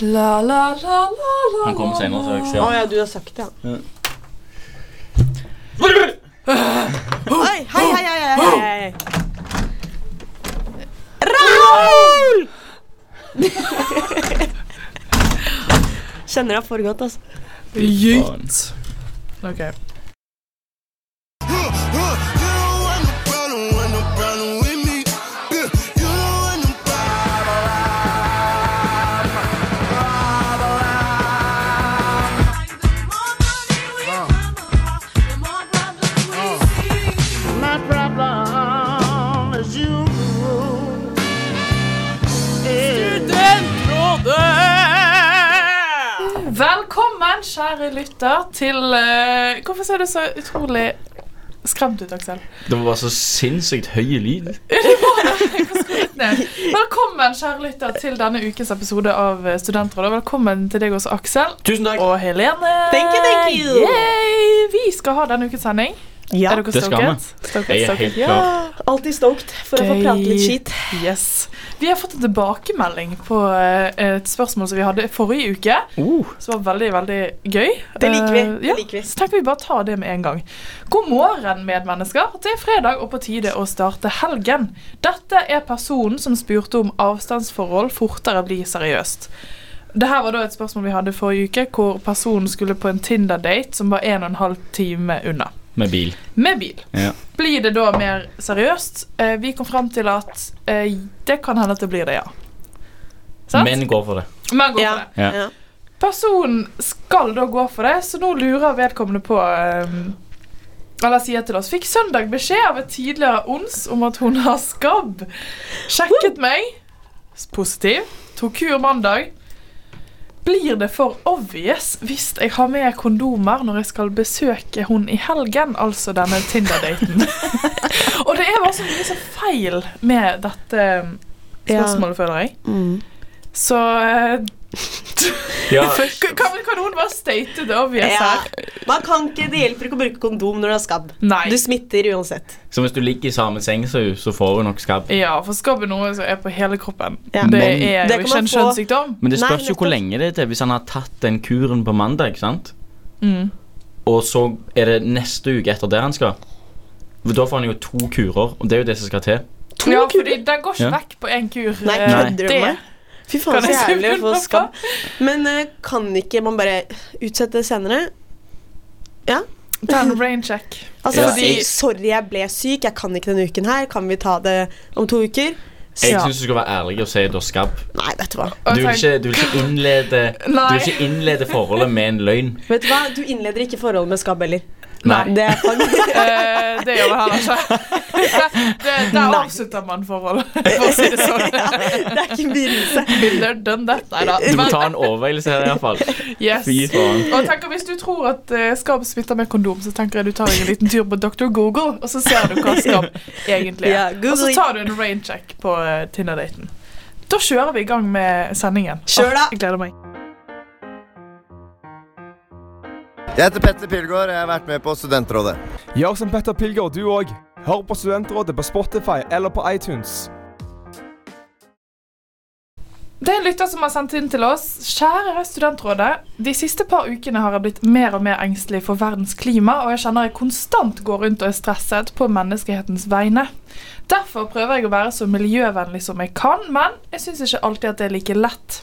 La, la, la, la, la Han kommer senere, så jeg la. ser. Å ja, du har sagt det, ja. Ja. Oi, hei, hei, hei, hei, hei. Raul! Kjenner deg for godt, altså. Gyt. Ok. My problem is you. Velkommen, kjære lytter, til eh, Hvorfor ser du så utrolig skremt ut, Aksel? Det var så sinnssykt høy lyd. Nei. Velkommen, kjære lytter, til denne ukens episode av eh, Studentrådet. Velkommen til deg også, Aksel. Tusen takk. Og Helene. Thank you, thank you. Yay! Vi skal ha denne ukens sending. Ja, er dere Det skal vi. stoket? Stoket, Jeg er stoket. helt klar. alltid stoked for å få prate litt skit. Yes. Vi har fått en tilbakemelding på eh, et spørsmål som vi hadde forrige uke. Uh, Som var veldig, veldig gøy. Det liker vi. Eh, Det ja. liker vi. Så tenker vi bare ta det med en gang. God morgen, medmennesker. Det er fredag og på tide å starte helgen. Dette er personen som spurte om avstandsforhold fortere blir seriøst. Dette var da et spørsmål vi hadde forrige uke, hvor personen skulle på en Tinder-date som var 1 12 time unna. med bil. Med bil. Ja. Blir det da mer seriøst? Eh, vi kom fram til at eh, det kan hende at det blir det, ja. Sant? Menn går for det. Men gå for Ja, det. Ja. ja. Personen skal da gå for det, så nå lurer vedkommende på ehm, Eller sier til oss Fikk søndag beskjed av et tidligere ons om at hun har skabb. Sjekket meg. Positiv. Tok kur mandag. Blir det for obvious hvis jeg har med kondomer når jeg skal besøke hun i helgen? Altså denne Tinder-daten. Og det er bare så mye så feil med dette ehm, spørsmålet, føler jeg. Mm. Så eh, Ja, K- Kan, kan noen bare state det obvious Ja. her? Man kan ikke, Det hjelper ikke å bruke kondom når du har skabb. Nei. Du smitter uansett. så hvis du ligger i samme seng, så, så får du nok skabb. Ja, for skabb er noe som er på hele kroppen. Ja. Det Men- er Det jo kan ikke man en få- kjønnssykdom. Men det Nei, spørs jo hvor nettopp. lenge det er til hvis han har tatt den kuren på mandag. ikke sant? Mm. Og så er det neste uke etter der han skal. For Da får han jo to kurer, og det er jo det som skal til. To ja, kurer? fordi den går ikke Ja. vekk på én kur. Nei, eh, kødder du det- med meg? Fy faen, Kan så jeg skrive jævlig å få under på? skabb. Men eh, kan ikke man bare utsette det senere? Ta en rain check. Altså, Ja, si, jeg- Sorry, jeg ble syk. Jeg kan ikke denne uken her. Kan vi ta det om to uker? Jeg Ja. syns du skal være ærlig og si du har skabb. Nei, vet du hva. Og Du vil tenk- ikke, du vil ikke, innlede, du Nei. vil ikke innlede forholdet med en løgn. Vet Du hva? Du innleder ikke forholdet med skabb heller. Nei. Det er faktisk Eh, det gjør det heller ikke. Det, der avslutter man forholdet, for å si det sånn. Det er ikke en begynnelse. Biller done that. Nei da. Du må ta en overveielse her, iallfall. yes. Fy faen. Og tenk, Hvis du tror at eh, skabb smitter med kondom, så tenker jeg du tar en liten tur på Dr. Google, og så ser du hva skabb egentlig er. Ja, Og så Google tar du en rain check på eh, Tinder-daten. Da kjører vi i gang med sendingen. Kjør da! Åh, Jeg gleder meg. Jeg heter Petter Pilgaard, og jeg har vært med på Studentrådet. Gjør som Petter Pilgaard, du òg. Hør på Studentrådet på Spotify eller på iTunes. Det er en lytter som har sendt inn til oss. Kjære Studentrådet. De siste par ukene har jeg blitt mer og mer engstelig for verdens klima, og jeg kjenner jeg konstant går rundt og er stresset på menneskehetens vegne. Derfor prøver jeg å være så miljøvennlig som jeg kan, men jeg syns ikke alltid at det er like lett.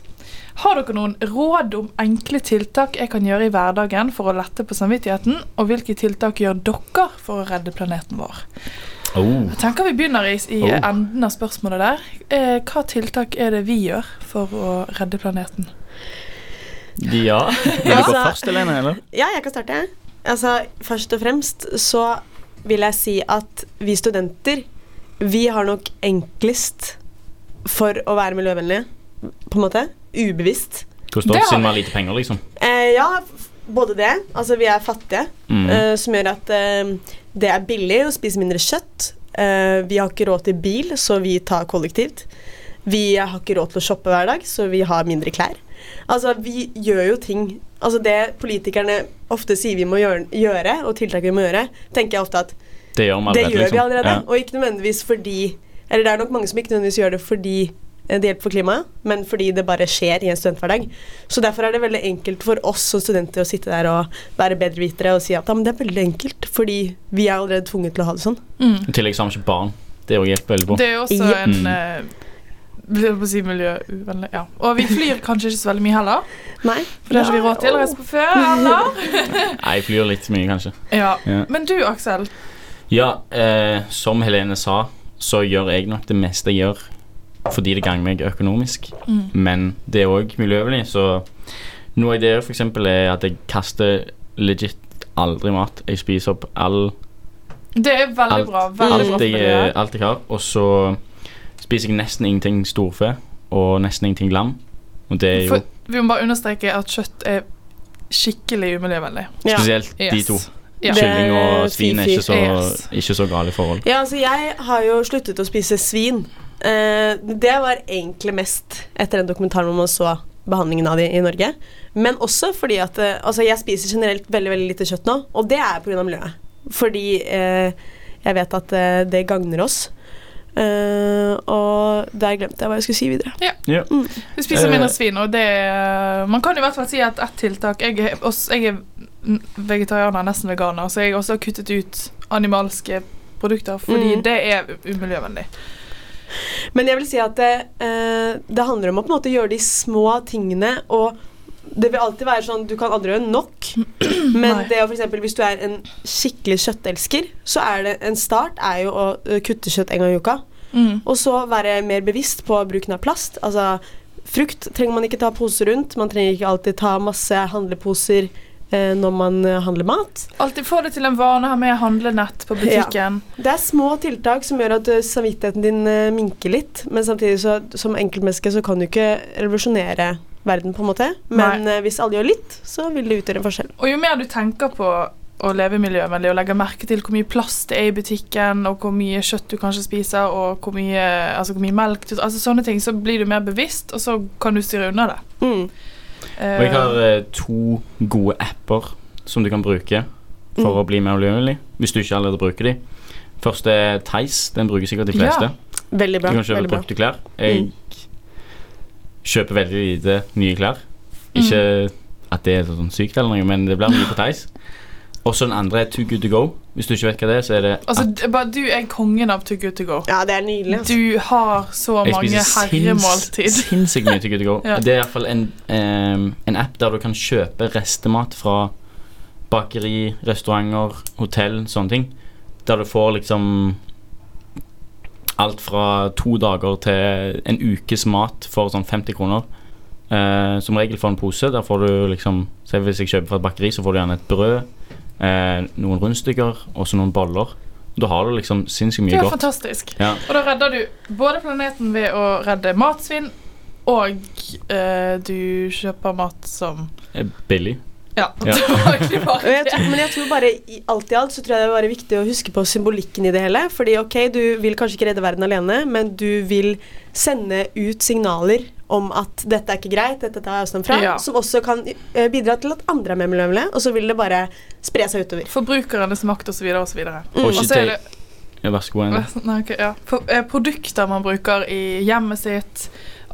Har dere noen råd om enkle tiltak jeg kan gjøre i hverdagen for å lette på samvittigheten, og hvilke tiltak gjør dere for å redde planeten vår? Oh. Jeg tenker vi begynner i, i Oh. enden av spørsmålet der. Eh, hva tiltak er det vi gjør for å redde planeten? Ja. Vil Altså, du gå først, Elene? Eller? Ja, jeg kan starte. jeg. Altså, først og fremst så vil jeg si at vi studenter, vi har nok enklest for å være miljøvennlige, på en måte. Ubevisst. Hvordan Det da, har siden vi har lite penger, liksom? Eh, ja, f- både det. Altså, vi er fattige, Mm. eh, som gjør at eh, det er billig å spise mindre kjøtt. Eh, vi har ikke råd til bil, så vi tar kollektivt. Vi har ikke råd til å shoppe hver dag, så vi har mindre klær. Altså, vi gjør jo ting Altså, det politikerne ofte sier vi må gjøre, gjøre og tiltak vi må gjøre, tenker jeg ofte at Det gjør vi det allerede. gjør vi liksom. allerede. Ja. Og ikke nødvendigvis fordi Eller det er nok mange som ikke nødvendigvis gjør det fordi eh, det hjelper for klimaet, men fordi det bare skjer i en studenthverdag. Så derfor er det veldig enkelt for oss som studenter å sitte der og være bedrevitere og si at ja, men det er veldig enkelt, fordi vi er allerede tvunget til å ha det sånn. Mm. I tillegg så har vi ikke barn. Det òg hjelper veldig på. Det er jo også Ja. en eh, jeg på å si miljøuvennlig. Ja. Og vi flyr kanskje ikke så veldig mye heller. Nei. For det har ikke vi råd til å reise på før. Eller? Nei, jeg flyr litt mye, kanskje. Ja. Oh. Ja. Men du, Aksel. Ja, eh, som Helene sa, så gjør jeg nok det meste jeg gjør fordi det ganger meg økonomisk. Mm. Men det er òg miljøvennlig, så noe jeg gjør, for eksempel, er at jeg kaster legit aldri mat. Jeg spiser opp all, Det er veldig alt, bra. Veldig bra alt, for jeg, eh, miljøet. alt jeg har. Og så spiser jeg nesten ingenting storfe og nesten ingenting lam. Og det er jo For, vi må bare understreke at kjøtt er skikkelig umiljøvennlig. Ja. spesielt de Yes. to. Ja. Det Kylling og er svin er ikke så, fy-fy. ikke så gale forhold. Ja, altså jeg har jo sluttet å spise svin. Eh, det var egentlig mest etter den dokumentaren hvor man så behandlingen av de i Norge. Men også fordi at eh, altså jeg spiser generelt veldig veldig lite kjøtt nå, og det er pga. miljøet. Fordi eh, jeg vet at eh, det gagner oss. Eh, og der glemte jeg hva jeg skulle si videre. Vi spiser Eh. mindre svin, og det eh, Man kan i hvert fall si at ett tiltak Jeg er, også, jeg er vegetarianer, nesten veganer, så jeg har også kuttet ut animalske produkter fordi Mm. det er u- umiljøvennlig. Men jeg vil si at det, eh, det handler om å på en måte gjøre de små tingene og det vil alltid være sånn, Du kan aldri gjøre nok, men Nei. det å for eksempel, hvis du er en skikkelig kjøttelsker, så er det en start er jo å eh, kutte kjøtt en gang i uka. Mm. Og så være mer bevisst på bruken av plast. Altså, frukt trenger man ikke ta poser rundt. Man trenger ikke alltid ta masse handleposer eh, når man eh, handler mat. Alltid få det til en vane her med handlenett på butikken. Det er små tiltak som gjør at eh, samvittigheten din eh, minker litt, men samtidig så, som enkeltmenneske så kan du ikke revolusjonere verden, på en måte. Men eh, hvis alle gjør litt, så vil det utgjøre en forskjell. Og jo mer du tenker på å leve miljøvennlig og legge merke til hvor mye plast det er i butikken, og hvor mye kjøtt du kanskje spiser, og hvor mye, altså, hvor mye melk du Altså sånne ting, så blir du mer bevisst, og så kan du styre unna det. Mm. Eh, Og jeg har eh, to gode apper som du kan bruke for Mm. å bli mer miljøvennlig. Hvis du ikke allerede bruker de. Først er Theis. Den bruker sikkert de Ja, fleste. Veldig du bra. kan kjøpe Veldig bra. Mm. brukte klær. Jeg kjøper veldig lite nye klær. Mm. Ikke at det er sånn sykt eller noe, men det blir mye på Theis. Og så den andre er Too Good To Go. Hvis du ikke vet hva det er, så er det Altså, d- bare du er kongen av to good to go. Ja, det er nydelig. altså. Du har så Jeg mange spiser herremåltid. sinns- sinnssykt mye Too Good To Go. Ja. Det er iallfall en, um, en app der du kan kjøpe restemat fra bakeri, restauranter, hotell, sånne ting. Der du får liksom alt fra to dager til en ukes mat for sånn 50 kroner. Eh, som regel for en pose. Der får du liksom se Hvis jeg kjøper fra et bakeri, så får du gjerne et brød, eh, noen rundstykker og så noen boller. Da har du liksom sinnssykt Det mye er godt. fantastisk. Ja. Og da redder du både planeten ved å redde matsvinn, og eh, du kjøper mat som Eh, Billig. Ja. Ja. det var egentlig bare Og jeg det. tror, men jeg tror bare i alt i alt så tror jeg det er bare viktig å huske på symbolikken i det hele. Fordi ok, du vil kanskje ikke redde verden alene, men du vil sende ut signaler om at dette er ikke greit, dette tar jeg avstand fra. Ja. Som også kan eh, bidra til at andre er mer miljøvennlige, og så vil det bare spre seg utover. Forbrukernes makt osv. osv. Og Og ikke så er til det Ja, Vær så god. Anne. Nei, ok, ja. Pro- eh, produkter man bruker i hjemmet sitt.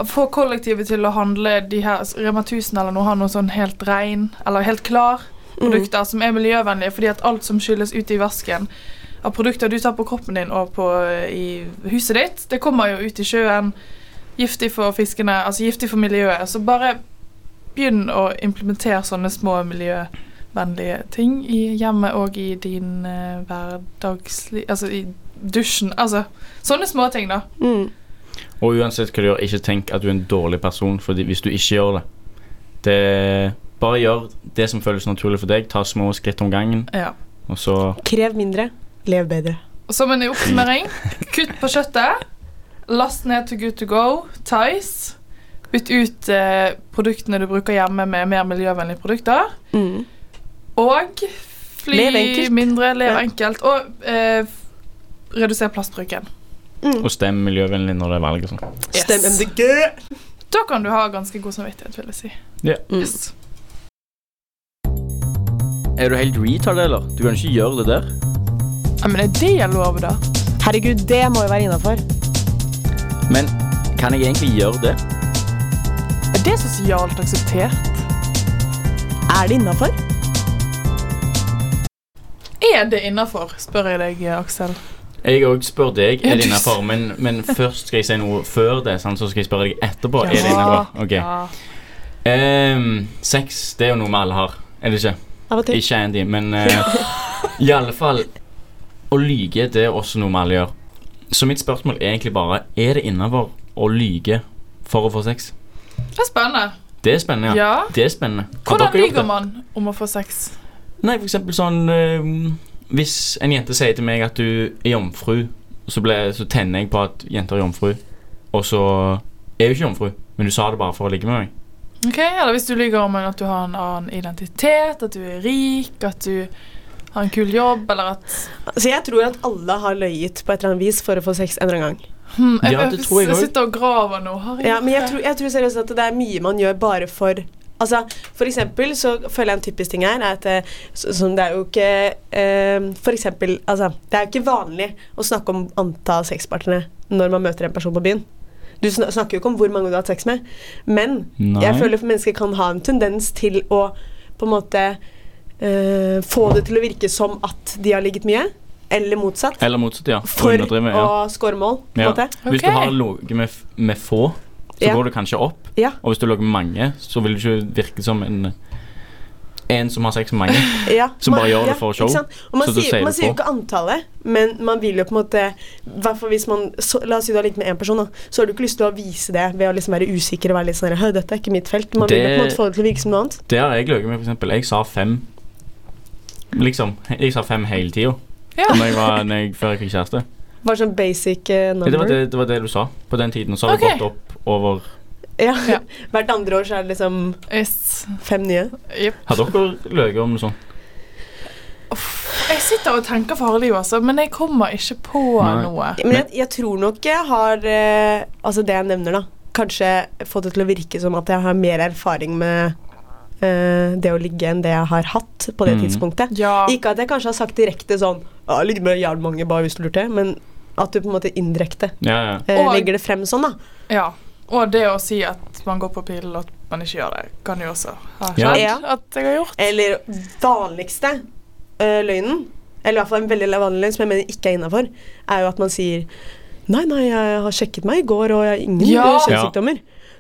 Få kollektivet til å handle de her Rema 1000 eller noe, ha noe sånn helt rein eller helt klar produkter som er miljøvennlige, fordi at alt som skylles ut i vasken av produkter du tar på kroppen din og på, eh, i huset ditt, det kommer jo ut i sjøen. Giftig for fiskene, altså giftig for miljøet. Så bare begynn å implementere sånne små miljøvennlige ting i hjemmet og i din eh, hverdagsli... Altså i dusjen. Altså sånne små ting, da. Mm. Og uansett hva du gjør, ikke tenk at du er en dårlig person fordi hvis du ikke gjør det. det bare gjør det som føles naturlig for deg. Ta små skritt om gangen, Ja. og så Krev mindre, lev bedre. Og som en oppsummering kutt på kjøttet. Last ned To Good To Go, Tice. Bytt ut eh, produktene du bruker hjemme, med mer miljøvennlige produkter. Mm. Og fly Lev enkelt. mindre, lev Ja. enkelt. Og eh, reduser plastbruken. Mm. Og stem miljøvennlig når det er valg og sånn. Yes. Stem MDG! Da kan du ha ganske god samvittighet, vil jeg si. Mm. Yes. Er du helt retard, eller? Du kan ikke gjøre det der. Ja, men er det lov, da? Herregud, det må jo være innafor. Men Kan jeg egentlig gjøre det? Er det sosialt akseptert? Er det innafor? Er det innafor, spør jeg deg, Aksel. Jeg òg spør deg, Ja, er du det innafor? s- Men, men først skal jeg si noe før det, sant? så skal jeg spørre deg etterpå. Er det Ja. innafor? Ok. Ja. Ehm, sex, det er jo noe vi alle har. Er det ikke? Av og til. Ikke Andy, men eh, i alle fall Å lyge, det er også noe vi alle gjør. Så mitt spørsmål er egentlig bare Er det innafor å lyge for å få sex? Det er spennende. Det er Ja. spennende. ja. Det er spennende. Har Hvordan dere gjort lyver det? man om å få sex? Nei, for eksempel sånn eh, Hvis en jente sier til meg at du er jomfru, så, ble, så tenner jeg på at jenter er jomfru, og så er hun ikke jomfru, men du sa det bare for å ligge med meg. Ok, Eller hvis du lyver om at du har en annen identitet, at du er rik, at du har en kul jobb, eller at Så jeg tror at alle har løyet på et eller annet vis for å få sex en eller annen gang. hm, jeg, Ja, det tror jeg også. sitter og graver nå. Har jeg Ja, men jeg gjort det? tror, jeg tror seriøst at det er mye man gjør bare for Altså, for eksempel så føler jeg en typisk ting her er at eh, så- som det er jo ikke eh, For eksempel, altså Det er jo ikke vanlig å snakke om antall sexpartnere når man møter en person på byen. Du sn- snakker jo ikke om hvor mange du har hatt sex med, men Nei. jeg føler at mennesker kan ha en tendens til å på en måte eh, få det til å virke som at de har ligget mye, eller motsatt, Eller motsatt, ja. for Underdrive, ja. å score mål, på en Ja. måte. Hvis du Ok. har ligget med, f- med få, så Ja. går du kanskje opp. Ja. Og hvis du har ligget med mange, så vil du ikke virke som en En som har sex med mange. Ja, Som bare gjør det for show. ikke sant? Og man Så da sier, sier man du sier jo på. ikke antallet, men man vil jo på en måte hvertfall hvis man, så, La oss si du har ligget med én person, da. Så har du ikke lyst til å vise det ved å liksom være usikker og være litt sånn her, «Hø, dette er ikke mitt felt. Man vil jo på en Det- måte få det til å virke som noe annet. Det har jeg ligget med, for eksempel. Jeg sa fem. Liksom. Jeg sa fem hele tida Ja. når jeg var- når jeg- før jeg fikk kjæreste. Bare sånn basic eh, Ja, Det var number. det, det var det du sa på den tiden. Og så har det Ok. gått opp over Ja. Ja. Hvert andre år så er det liksom Yes. fem nye. Jep. Har dere løyet om noe sånt? Jeg sitter og tenker farlig, altså, men jeg kommer ikke på Nei. noe. Men jeg, jeg tror nok jeg har eh, Altså det jeg nevner, da. Kanskje fått det til å virke som at jeg har mer erfaring med eh, det å ligge enn det jeg har hatt på det Mm. tidspunktet. Ja. Ikke at jeg kanskje har sagt direkte sånn «Ja, Jeg ligger med jævlig mange, bare hvis du lurte. Men at du på en måte indirekte Ja, ja. eh, Og- legger det frem sånn, da. ja. Og det å si at man går på pillen, og at man ikke gjør det, kan jo også ha Ja. skjedd Ja. at jeg har gjort. Eller vanligste eh, løgnen, eller i hvert fall en veldig vanlig løgn som jeg mener ikke er innafor, er jo at man sier Nei, nei, jeg har sjekket meg i går, og jeg har ingen Ja. eh, kjønnssykdommer.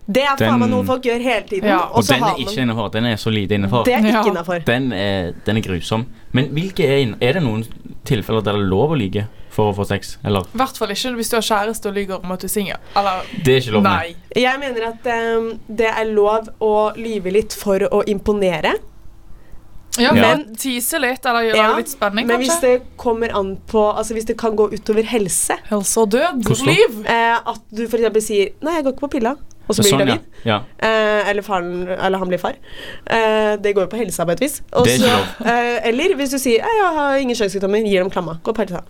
Det er faen Den- meg noe folk gjør hele tiden. Ja. Og så den har er man- ikke innafor. Den er så lite innafor. Det er ikke Ja. innafor. Den er, den er grusom. Men hvilke er, inn- er det noen tilfeller der det er lov å lyge for å få sex? Eller I hvert fall ikke hvis du har kjæreste og lyver om at du er singel. Eller det er ikke lov? nei. Jeg mener at eh, det er lov å lyve litt for å imponere. Ja, Ja. men tise litt, eller gjøre Ja, det litt spenning, Men hvis kanskje. det kommer an på Altså hvis det kan gå utover helse Helse og død. Hvordan da? Liv. eh, At du for eksempel sier Nei, jeg går ikke på pilla Og så blir du Sånn, ja. gravid ja. eh, eller, faren, eller han blir far eh, Det går jo på helsa på et vis Og Det er så- ikke eh, Eller hvis du sier «Nei, Jeg har ingen kjønnssykdommer Gir dem klamma Gå på helsa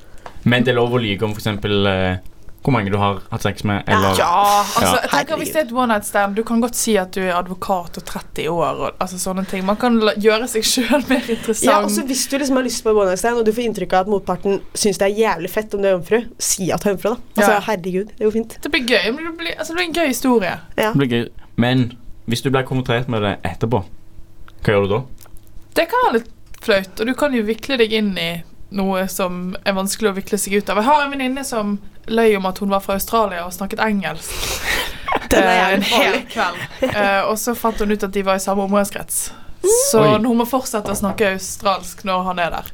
Men det er lov å lyge om f.eks. Eh, hvor mange du har hatt sex med, eller Ja, altså, Ja. jeg tenker hvis det er et one night stand Du kan godt si at du er advokat og 30 år. Og, altså sånne ting Man kan la, gjøre seg sjøl mer interessant. Ja, også hvis du liksom har lyst på en one night stand Og du får inntrykk av at motparten Synes det er jævlig fett om du er jomfru Si at du er jomfru da Altså Ja. herregud Det går fint Det blir gøy. men Det blir, altså, det blir en gøy historie. ja. Det blir gøy. Men hvis du blir konfrontert med det etterpå, hva gjør du da? Det kan være litt flaut, og du kan jo vikle deg inn i noe som er vanskelig å vikle seg ut av. Jeg har en venninne som løy om at hun var fra Australia og snakket engelsk Den er eh, en jævlig farlig hel kveld. Eh, og så fant hun ut at de var i samme omgangskrets. Så Oi. hun må fortsette å snakke australsk når han er der.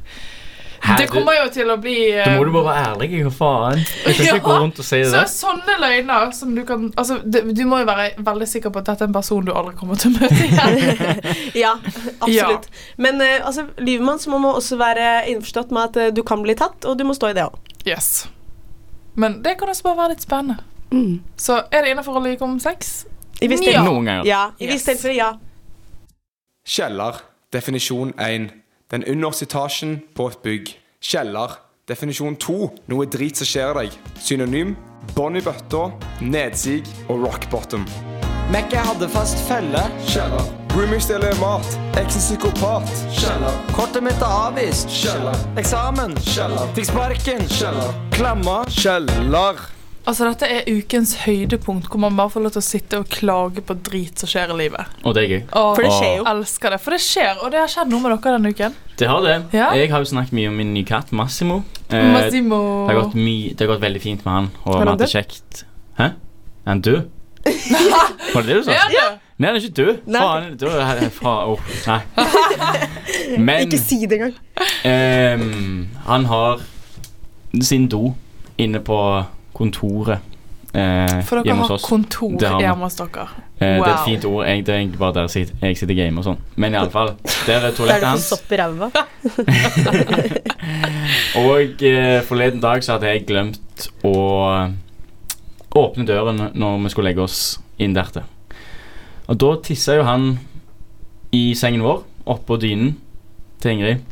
Hæ, Det kommer jo til å bli eh, Da må du bare være ærlig. Hva faen? Jeg kan ikke Ja. gå rundt og si det. så sånne løgner som du kan altså, det, Du må jo være veldig sikker på at dette er en person du aldri kommer til å møte igjen. Ja, absolutt. Men eh, altså, lyver man, så må man også være innforstått med at eh, du kan bli tatt, og du må stå i det òg. Yes. Men det kan også bare være litt spennende. Så er det innafor å lyve om sex? I visst Ja. tilfelle. Noen ganger. Ja. I visst Yes. tilfelle, ja. Kjeller. Definisjon 1. Den underste etasjen på et bygg. Kjeller. Definisjon 2. Noe drit som skjer deg. Synonym bånd i bøtta, nedsig og rock bottom. Mekka hadde fast felle. Kjeller. Roomie stjeler mat. Eksen psykopat. Kjeller. Kortet mitt er avvist. Kjeller. Eksamen. Kjeller. Fikk sparken. Klamma. Kjeller. Altså, dette er ukens høydepunkt, hvor man bare får lov til å sitte og klage på drit som skjer i livet. Og det er gøy. Og For det skjer jo. elsker det. For det skjer, og det har skjedd noe med dere denne uken. Det har det. Ja. Jeg har jo snakket mye om min nye katt, Massimo. Eh, Massimo. Det har, gått my det har gått veldig fint med han, og Er vi han har hatt det død? kjekt. Hæ? Er han død? Var det det du sa? Ja, det. Nei, han er ikke død. Nei. Faen, han er død. Her- her- Fra, åh, nei. Men Ikke si det engang. ehm, han har sin do inne på kontoret eh, For dere hjemme har hos oss. kontor Det har vi. hjemme hos dere. Eh, Det er et Wow. fint ord. Jeg, det er egentlig bare der jeg sitter- jeg sitter og gamer og sånn. Men iallfall, der er Der du toalettet får hans. sopp i ræva. Og eh, forleden dag så hadde jeg glemt å eh, åpne døren når vi skulle legge oss inn derte. Og da tissa jo han i sengen vår, oppå dynen til Ingrid.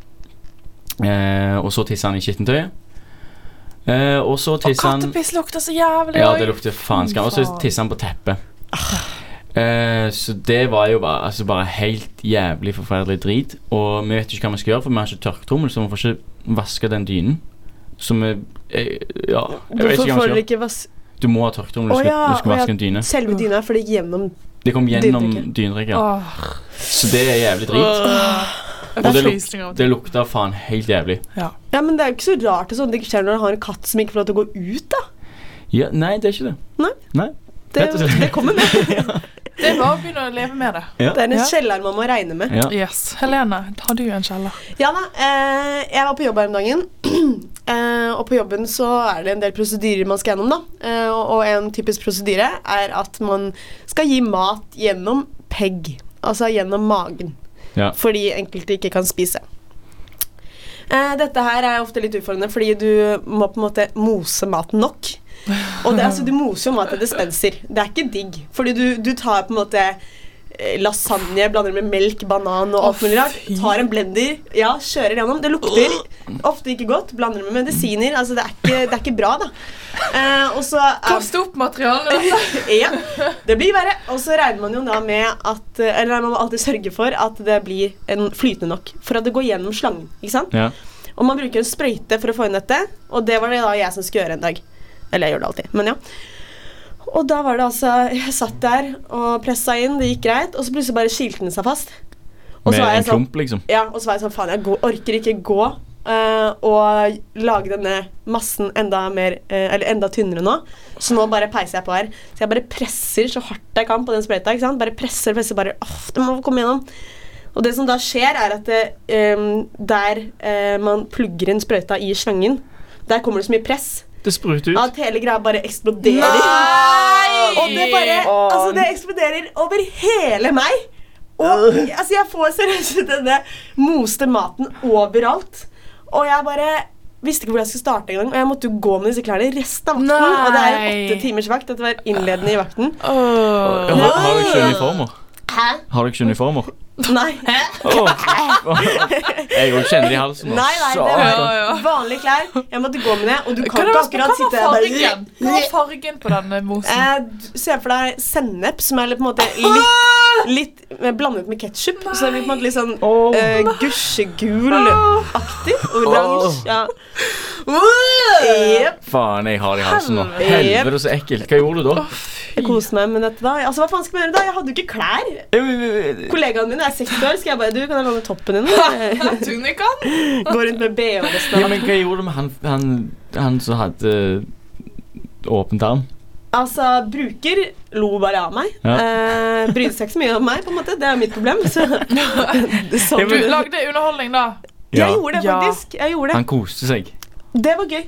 Eh, og så tissa han i skittentøyet. Eh, og så Og tissa han kattepiss lukter så jævlig Ja, oi. det lukter faenskap. Og så Faen. tissa han på teppet. Ah. Eh, så det var jo bare, altså bare helt jævlig forferdelig drit. Og vi vet ikke hva vi skal gjøre, for vi har ikke tørketrommel, så vi får ikke vaska den dynen. Så vi eh, Ja, jeg vet ikke hva vi Hvorfor får skal dere gjøre. ikke vas Du må ha tørketrommel hvis Å du skal- ja, du skal å ja. vaske en dyne. selve dyna? For det gikk gjennom Det kom gjennom Dyneriket. dyneriket. ja. Åh, Så det er jævlig drit. Åh. Og det Jeg får luk- frysninger av og til. Det lukta faen helt jævlig. Ja, men Det er jo ikke så rart det er sånn det ikke skjer når du har en katt som ikke får lov til å gå ut. da. Ja, nei, det er ikke det. Nei. Nei. Det, Rett og slett. det kommer med. Det er bare å begynne å leve med det. Det er en Ja. kjeller man må regne med. Ja. Yes. Helene, har du en kjeller? Ja da, eh, jeg var på jobb her om dagen. eh, og på jobben så er det en del prosedyrer man skal gjennom, da. Eh, og, og en typisk prosedyre er at man skal gi mat gjennom pegg. Altså gjennom magen. Ja. Fordi enkelte ikke kan spise. Eh, dette her er ofte litt utfordrende, fordi du må på en måte mose maten nok. Og det, er altså, du moser jo mat i dispenser. Det er ikke digg. Fordi du, du tar på en måte eh, lasagne, blander med melk, banan og alt mulig rart. Tar en blender, ja, kjører gjennom. Det lukter ofte ikke godt. Blander med medisiner. Altså, det er ikke, det er ikke bra, da. Eh, og så er Kast opp materialet. ja, det blir verre. Og så regner man jo da med at Eller man må alltid sørge for at det blir en flytende nok. For at det går gjennom slangen. ikke sant? Ja. Og man bruker en sprøyte for å få inn dette, og det var det da jeg som skulle gjøre en dag. Eller jeg gjør det alltid, men ja. Og da var det altså Jeg satt der og pressa inn, det gikk greit, og så plutselig bare kilte den seg fast. Og Med så var jeg en sånn- klump, liksom. Ja, og så var jeg sånn, faen, jeg går, orker ikke gå eh, og lage denne massen enda, mer, eh, eller enda tynnere nå. Så nå bare peiser jeg på her. Så jeg bare presser så hardt jeg kan på den sprøyta. ikke sant? Bare presser, presser, bare, åh, det må komme gjennom. Og det som da skjer, er at det, ehm, der eh, man plugger inn sprøyta i slangen, der kommer det så mye press Det spruter ut. at hele greia bare eksploderer. Og det bare Altså, det eksploderer over hele meg. Og altså, jeg får seriøst denne moste maten overalt. Og jeg bare visste ikke hvor jeg skulle starte engang. Og jeg måtte jo gå med disse klærne resten av vakten. Nei. Og det er en åtte timers vakt. Dette var innledende i vakten. Åh. Har, har dere ikke uniformer? Hæ? Har dere ikke uniformer? Nei. Åh. Jeg òg kjenner det i halsen. Nei, nei, det Ja, var ja. vanlige klær. Jeg måtte gå med det. Og du Hva kan ikke var- akkurat hva sitte var der fargen? Hva var fargen på denne mosen? Eh, du- Se for deg sennep, som er litt, på en måte litt, litt eh, blandet med ketsjup. Så det blir på en måte litt sånn eh, gusjegul-aktig. Oransje. Ja. Jep, Faen, jeg har det i halsen nå. Helvete. Helvete, så ekkelt. Hva gjorde du da? Jeg koser meg med dette, da. Altså, Hva faen skal jeg gjøre da? Jeg hadde jo ikke klær. Kollegaen min er 60 år. Skal jeg bare Du, kan jeg låne toppen din? Eh, Tunikan? Gå rundt med bh resten Ja, av men hva gjorde du med han, han, han som hadde eh, åpen tarm? Altså, bruker lo bare av meg. Ja. Eh, brydde seg ikke så mye om meg, på en måte. Det er mitt problem. Så. Det er sånn. Du lagde underholdning, da. Ja. Jeg gjorde det, Ja. faktisk. Jeg gjorde Han koste seg. det. Det var gøy.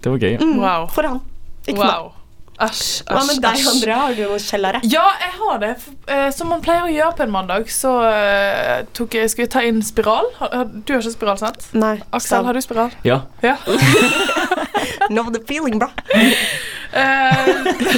Det var gøy. Mm, Wow. For han. Ikke for meg. Wow. Æsj, Hva med æsj, deg, æsj. Andrea? Har du noen kjellere? Ja, jeg har det. F- eh, Som man pleier å gjøre på en mandag, så eh, tok jeg, skal vi ta inn spiral. Har- har- Du har ikke spiral, sant? Nei. Aksel, har du spiral? Ja. Ja. Know the feeling, bra. Eh,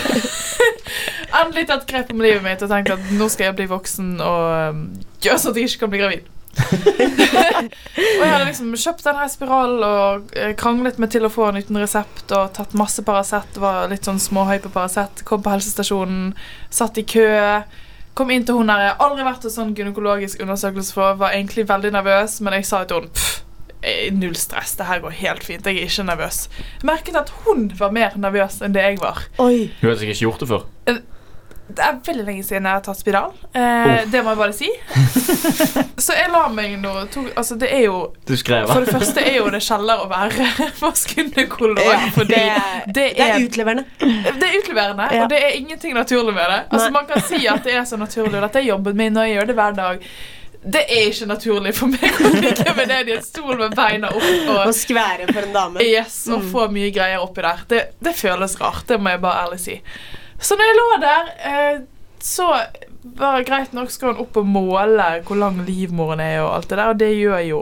Endelig tatt grep om livet mitt og tenkt at nå skal jeg bli voksen og eh, gjøre sånn at jeg ikke kan bli gravid. og jeg hadde liksom kjøpt denne spiralen og eh, kranglet meg til å få den uten resept og tatt masse Paracet, var litt sånn småhøy på Paracet, kom på helsestasjonen, satt i kø. Kom inn til hun der jeg aldri vært hos sånn gynekologisk undersøkelse for, var egentlig veldig nervøs, men jeg sa til henne pff, eh, null stress, det her går helt fint. Jeg er ikke nervøs. Jeg merket at hun var mer nervøs enn det jeg var. Oi. Hun har sikkert ikke gjort det før. Det er veldig lenge siden jeg har tatt spiral. Eh, det må jeg bare si. Så jeg la meg nå to, Altså, det er jo Du skrev For det første er jo det skjeller å være maskulinekolon. Ja, fordi det, det, det er er utleverende. Det er utleverende, Ja. og det er ingenting naturlig med det. Altså, Nei. man kan si at det er så naturlig, og dette er jobben min, og jeg gjør det hver dag. Det er ikke naturlig for meg å ligge med ned i en stol med beina opp Å og skvære for en dame. yes, og få mye greier oppi der. Det, det føles rart, det må jeg bare ærlig si. Så når jeg lå der, eh, så var det greit nok skal hun opp og måle hvor lang livmoren er og alt det der, og det gjør jo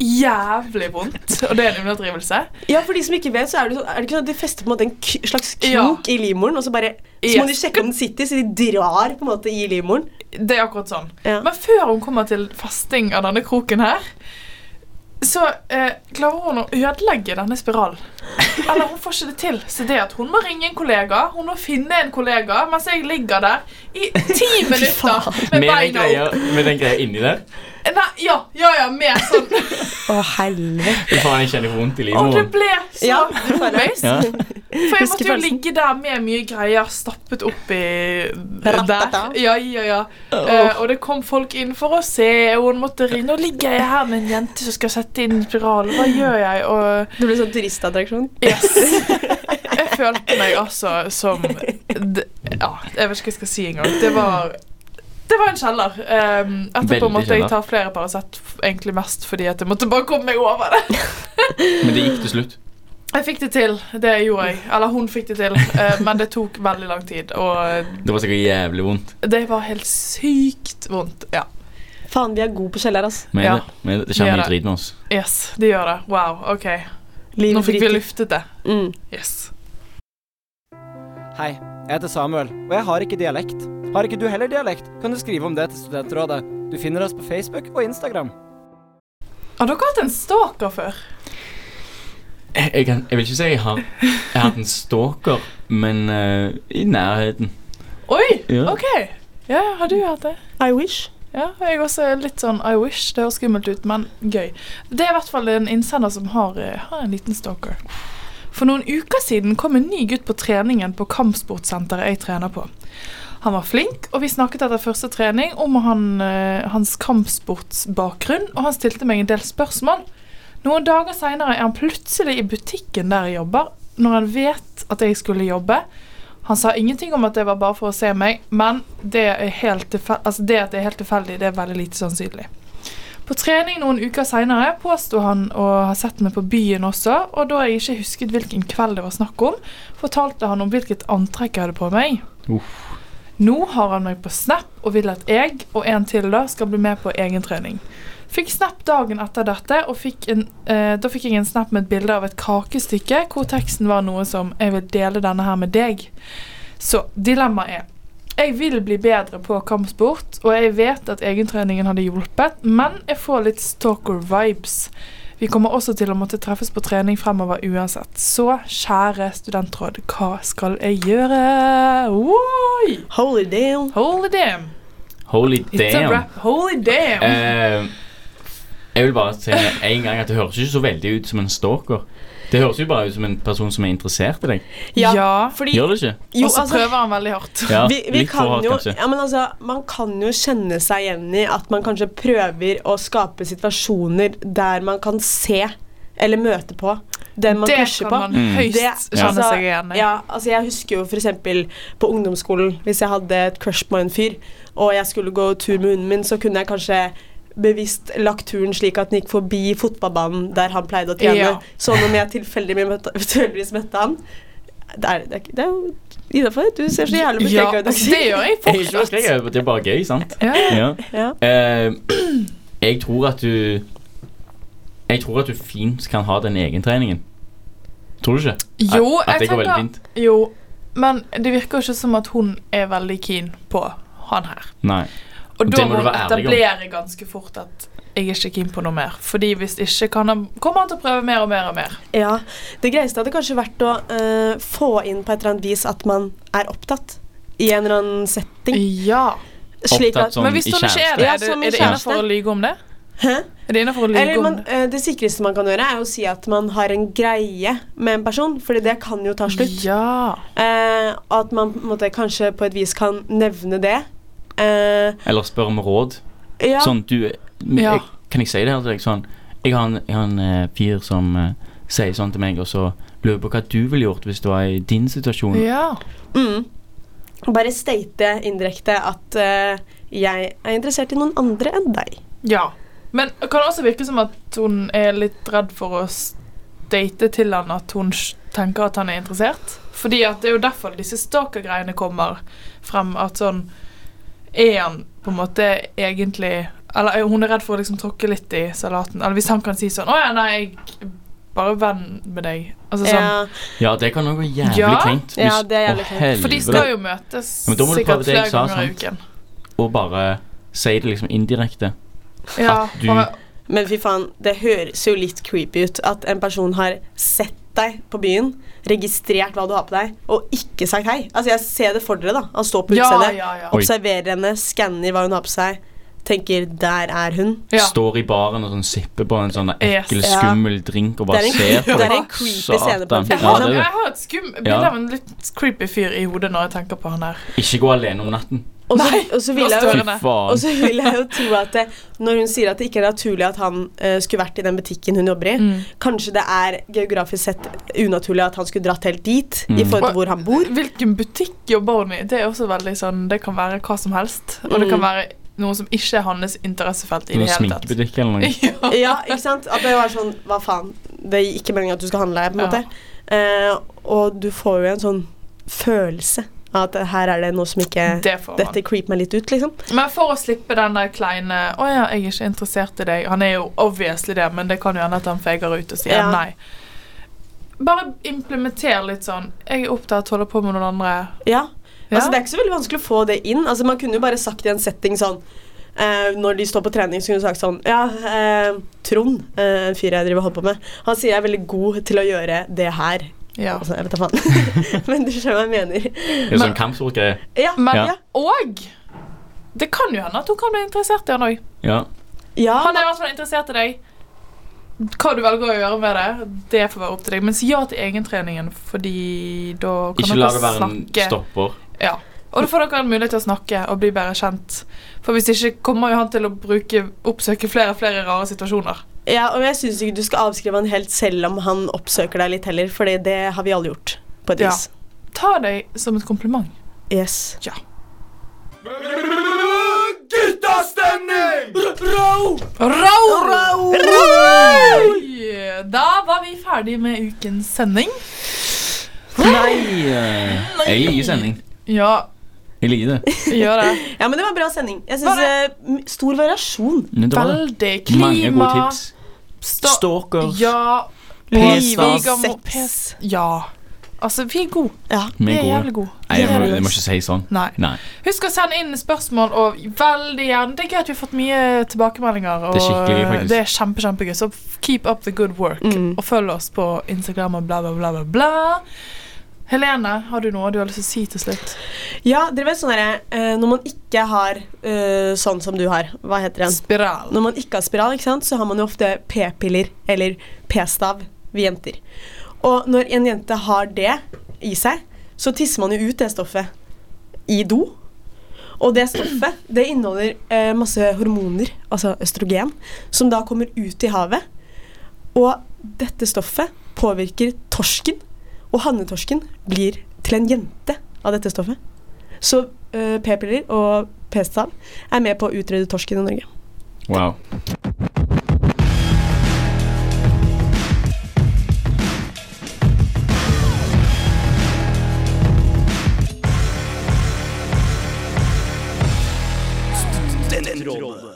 jævlig vondt, og det er en underdrivelse. Ja, for de som ikke vet, så er det, så, er det ikke sånn at de fester på en måte en k slags Ja. krok i livmoren, og så bare Så må Yes. de sjekke om den sitter, så de drar på en måte i livmoren. Det er akkurat sånn. Ja. Men før hun kommer til fasting av denne kroken her, så eh, klarer hun å ødelegge denne spiralen. Eller hun får ikke det til. Så det at hun må ringe en kollega, hun må finne en kollega, mens jeg ligger der i ti minutter med med den, beina greia, opp. med den greia inni der. Nei, ja, ja, ja, mer sånn. Å, helvete. Fy faen, jeg kjenner vondt i Og det livmoren. ble så Ja, du får det. waste. Ja. For jeg måtte jo Huskefølelsen. ligge der med mye greier stappet oppi der. Ratata. Ja, ja, ja. Eh, og det kom folk inn for å se, og hun måtte ringe. Nå ligger jeg her med en jente som skal sette inn spiral. Hva gjør jeg? Og Det ble sånn turistattraksjon. yes. Jeg følte meg altså som d- Ja, jeg vet ikke hva jeg skal si engang. Det var det var en kjeller. Um, etterpå Veldig måtte jeg kjeller. ta flere Paracet, f- egentlig mest fordi at jeg måtte bare komme meg over det. Men det gikk til slutt. Jeg fikk det til. Det gjorde jeg. Eller hun fikk det til. eh, men det tok veldig lang tid. Og Det var sikkert jævlig vondt. det var helt sykt vondt. Ja. Faen, vi er gode på kjeller, ass. Men Ja. det, men det, det skjer Det gjør det. mye drit med oss. Yes, det gjør det. Wow. OK. Liv Nå fikk vi driter. luftet det. Mm. Yes. Hei, jeg heter Samuel, og jeg har ikke dialekt. Har ikke du heller dialekt, kan du skrive om det til Studentrådet. Du finner oss på Facebook og Instagram. Har dere hatt en stalker før? Jeg, jeg, kan, jeg vil ikke si jeg har, jeg har hatt en stalker, men eh, i nærheten. Oi! Ja. OK. Ja, har du hatt det? I wish. Ja, og jeg også er litt sånn I wish. Det høres skummelt ut, men gøy. Det er i hvert fall en innsender som har, eh, har en liten stalker. For noen uker siden kom en ny gutt på treningen på kampsportsenteret jeg trener på. Han var flink, og vi snakket etter første trening om han, eh, hans kampsportsbakgrunn, og han stilte meg en del spørsmål. Noen dager seinere er han plutselig i butikken der jeg jobber, når han vet at jeg skulle jobbe. Han sa ingenting om at det var bare for å se meg, men det, er helt tilfe- altså det at det er helt tilfeldig, det er veldig lite sannsynlig. På trening noen uker seinere påsto han å ha sett meg på byen også, og da jeg ikke husket hvilken kveld det var snakk om, fortalte han om hvilket antrekk jeg hadde på meg. Nå har han meg på Snap og vil at jeg, og en til da, skal bli med på egen trening. Fikk snap dagen etter dette, og fikk en, eh, da fikk jeg en snap med et bilde av et kakestykke hvor teksten var noe som 'Jeg vil dele denne her med deg'. Så dilemmaet er Jeg vil bli bedre på kampsport, og jeg vet at egentreningen hadde hjulpet, men jeg får litt stalker-vibes. Vi kommer også til å måtte treffes på trening fremover uansett. Så kjære studentråd, hva skal jeg gjøre? Oi! Holy damn. Holy damn! Holy It's a damn. wrap. Holy damn! Eh, jeg vil bare si med en gang at det høres ikke så veldig ut som en stalker. Det høres jo bare ut som en person som er interessert i deg. Ja. ja. Fordi Gjør det ikke? Jo, og så altså prøver han veldig hardt. Ja, vi, vi litt for kan hardt, jo, kanskje. ja, men altså, man kan jo kjenne seg igjen i at man kanskje prøver å skape situasjoner der man kan se eller møte på den man det pusher kan på. man Mm. høyst Det- kjenne altså, seg igjen i. Ja, altså jeg husker jo f.eks. på ungdomsskolen, hvis jeg hadde et crush på en fyr, og jeg skulle gå tur med hunden min, så kunne jeg kanskje bevisst lagt turen slik at den gikk forbi fotballbanen der han pleide å trene. Ja. Sånn om jeg tilfeldigvis møtte, tilfeldigvis møtte han Det er, det er, ikke- det er jo innafor. Du ser så jævlig Ja, altså, betenka ut. Aksel. det gjør jeg Jeg er ikke fortsatt. skrevet, det er bare gøy, sant? Ja. Ja. Ja. Eh, jeg tror at du Jeg tror at du fint kan ha den egentreningen. Tror du ikke? At- Jo, at det jeg går veldig tenker fint? Jo, men det virker jo ikke som at hun er veldig keen på han her. Nei. Og da Det må må du hun være ærlig om. etablere ganske fort at jeg er ikke keen på noe mer. Fordi hvis ikke kan han, kommer han til å prøve mer og mer og mer. Ja, Det greieste hadde kanskje vært å eh, få inn på et eller annet vis at man er opptatt i en eller annen setting. Ja. Slik Opptatt at, sånn Men hvis i hun ikke er det, Ja, er det, som i er det kjæreste. innenfor å lyge om det? Hæ? Er det innenfor å lyge Eller om man, eh, det sikreste man kan gjøre, er å si at man har en greie med en person, Fordi det kan jo ta slutt. Ja. Eh, og at man på en måte, kanskje på et vis kan nevne det. Eh, Eller spør om råd. ja. Sånn, du men Ja. jeg, Kan jeg si det her til deg? Sånn, jeg har en, jeg har en eh, fyr som eh, sier sånn til meg, og så lurer jeg på hva du ville gjort hvis det var i din situasjon. ja. Mm. Bare state indirekte at eh, jeg er interessert i noen andre enn deg. Ja. Men det kan også virke som at hun er litt redd for å s- date til han at hun s- tenker at han er interessert. Fordi at det er jo derfor disse stalker-greiene kommer frem. At sånn Er han på en måte egentlig Eller er- hun er redd for å liksom tråkke litt i salaten. Eller hvis han kan si sånn Å ja, nei, jeg er bare venn med deg. Altså sånn. Ja, Ja, det kan også være jævlig Ja. kleint. Ja, det er jævlig å, kleint. For de helvete. skal jo møtes Ja, men da må du prøve sikkert det jeg flere sa, ganger i sant? uken. Og bare si det liksom indirekte. Ja, At du- bare, Men fy faen, det høres jo litt creepy ut at en person har sett deg på byen, registrert hva du har på deg, og ikke sagt hei. Altså, jeg ser det for dere, da. Han står på ja, utestedet, ja, ja. Oi. observerer henne, skanner hva hun har på seg, tenker 'der er hun'. ja. Står i baren og sånn sipper på en sånn ekkel, Yes. Ja. skummel drink og Det er bare en, ser på det er deg. en creepy scene på Satan. en Jeg film. Ja, har, det er det. jeg har et skum bilde Ja. av en litt creepy fyr i hodet når jeg tenker på han her. Ikke gå alene om natten. Og så- Nei, og så vil lås jeg jo Fy Dørene. Og faen. så vil jeg jo tro at det, når hun sier at det ikke er naturlig at han eh, skulle vært i den butikken hun jobber i, Mm. kanskje det er geografisk sett unaturlig at han skulle dratt helt dit i Mm. forhold til hvor han bor. Hvilken butikk jobber hun i? Det er også veldig sånn, det kan være hva som helst. Og det Mm. kan være noe som ikke er hans interessefelt i det Noen hele tatt. sminkebutikk eller noe. Ja. Ja, ikke sant? At det var sånn Hva faen? Det gir ikke meningen at du skal handle her, på en Ja. måte. Eh, og du får jo en sånn følelse av at her er det noe som ikke Det får man. Dette creeper meg litt ut, liksom. Men for å slippe den der kleine 'Å ja, jeg er ikke interessert i deg' Han er jo obviously det, men det kan jo hende at han feiger ut og sier Ja. nei. Bare implementer litt sånn 'Jeg er opptatt, holder på med noen andre'. Ja. Ja. Altså, det er ikke så veldig vanskelig å få det inn. Altså, man kunne jo bare sagt i en setting sånn eh, Når de står på trening, så kunne du sagt sånn Ja, eh, Trond, eh, en fyr jeg driver og holder på med, han sier jeg er veldig god til å gjøre det her. Ja. Altså, jeg vet da faen. Men du skjønner hva jeg mener. Det er sånn kampsportgreie. Ja, Men Ja. ja. og det kan jo hende at hun kan bli interessert i han òg. Ja. ja, Han er i hvert fall interessert i deg. Hva du velger å gjøre med det, det får være opp til deg. Men si ja til egentreningen, fordi da kan Ikke la dere det være en snakke. stopper. Ja. Og da får dere en mulighet til å snakke og bli bedre kjent. For hvis ikke kommer jo han til å bruke, oppsøke flere og flere rare situasjoner. ja, og jeg syns ikke du skal avskrive han helt selv om han oppsøker deg litt heller, Fordi det har vi alle gjort. På et Ja. vis. Ta deg som et kompliment. Yes. Guttastemning! Row! Da var vi ferdig med ukens sending. Nei! eh, Jeg liker sending. Ja, Jeg liker det. gjør det. Ja, men det var en bra sending. Jeg Var syns eh, stor variasjon. Men det var det. Veldig Mange klima. gode tips. sta- Stalkers. Ja. P-stas. Polygamo- Sex. P- Ja. Altså, vi er gode. Ja. Vi Vi er er gode. jævlig gode. Nei, jeg må, jeg må ikke si sånn. Nei. Nei. Husk å sende inn spørsmål, og veldig gjerne Det er gøy at vi har fått mye tilbakemeldinger. Og eh, Det er skikkelig gøy, faktisk. det er kjempe, kjempegøy. Så f- keep up the good work. Og følg oss på Instagram og bla, bla, bla, bla, bla. Helene, har du noe du har lyst til å si til slutt? Ja, dere vet sånn derre eh, Når man ikke har eh, sånn som du har, hva heter den? Spiral. Når man ikke har spiral, ikke sant, så har man jo ofte p-piller eller p-stav, vi jenter. Og når en jente har det i seg, så tisser man jo ut det stoffet i do. Og det stoffet det inneholder eh, masse hormoner, altså østrogen, som da kommer ut i havet. Og dette stoffet påvirker torsken, og hannetorsken blir til en jente av dette stoffet. Så eh, p-piller og p-stav er med på å utrydde torsken i Norge. Wow. Den tråden.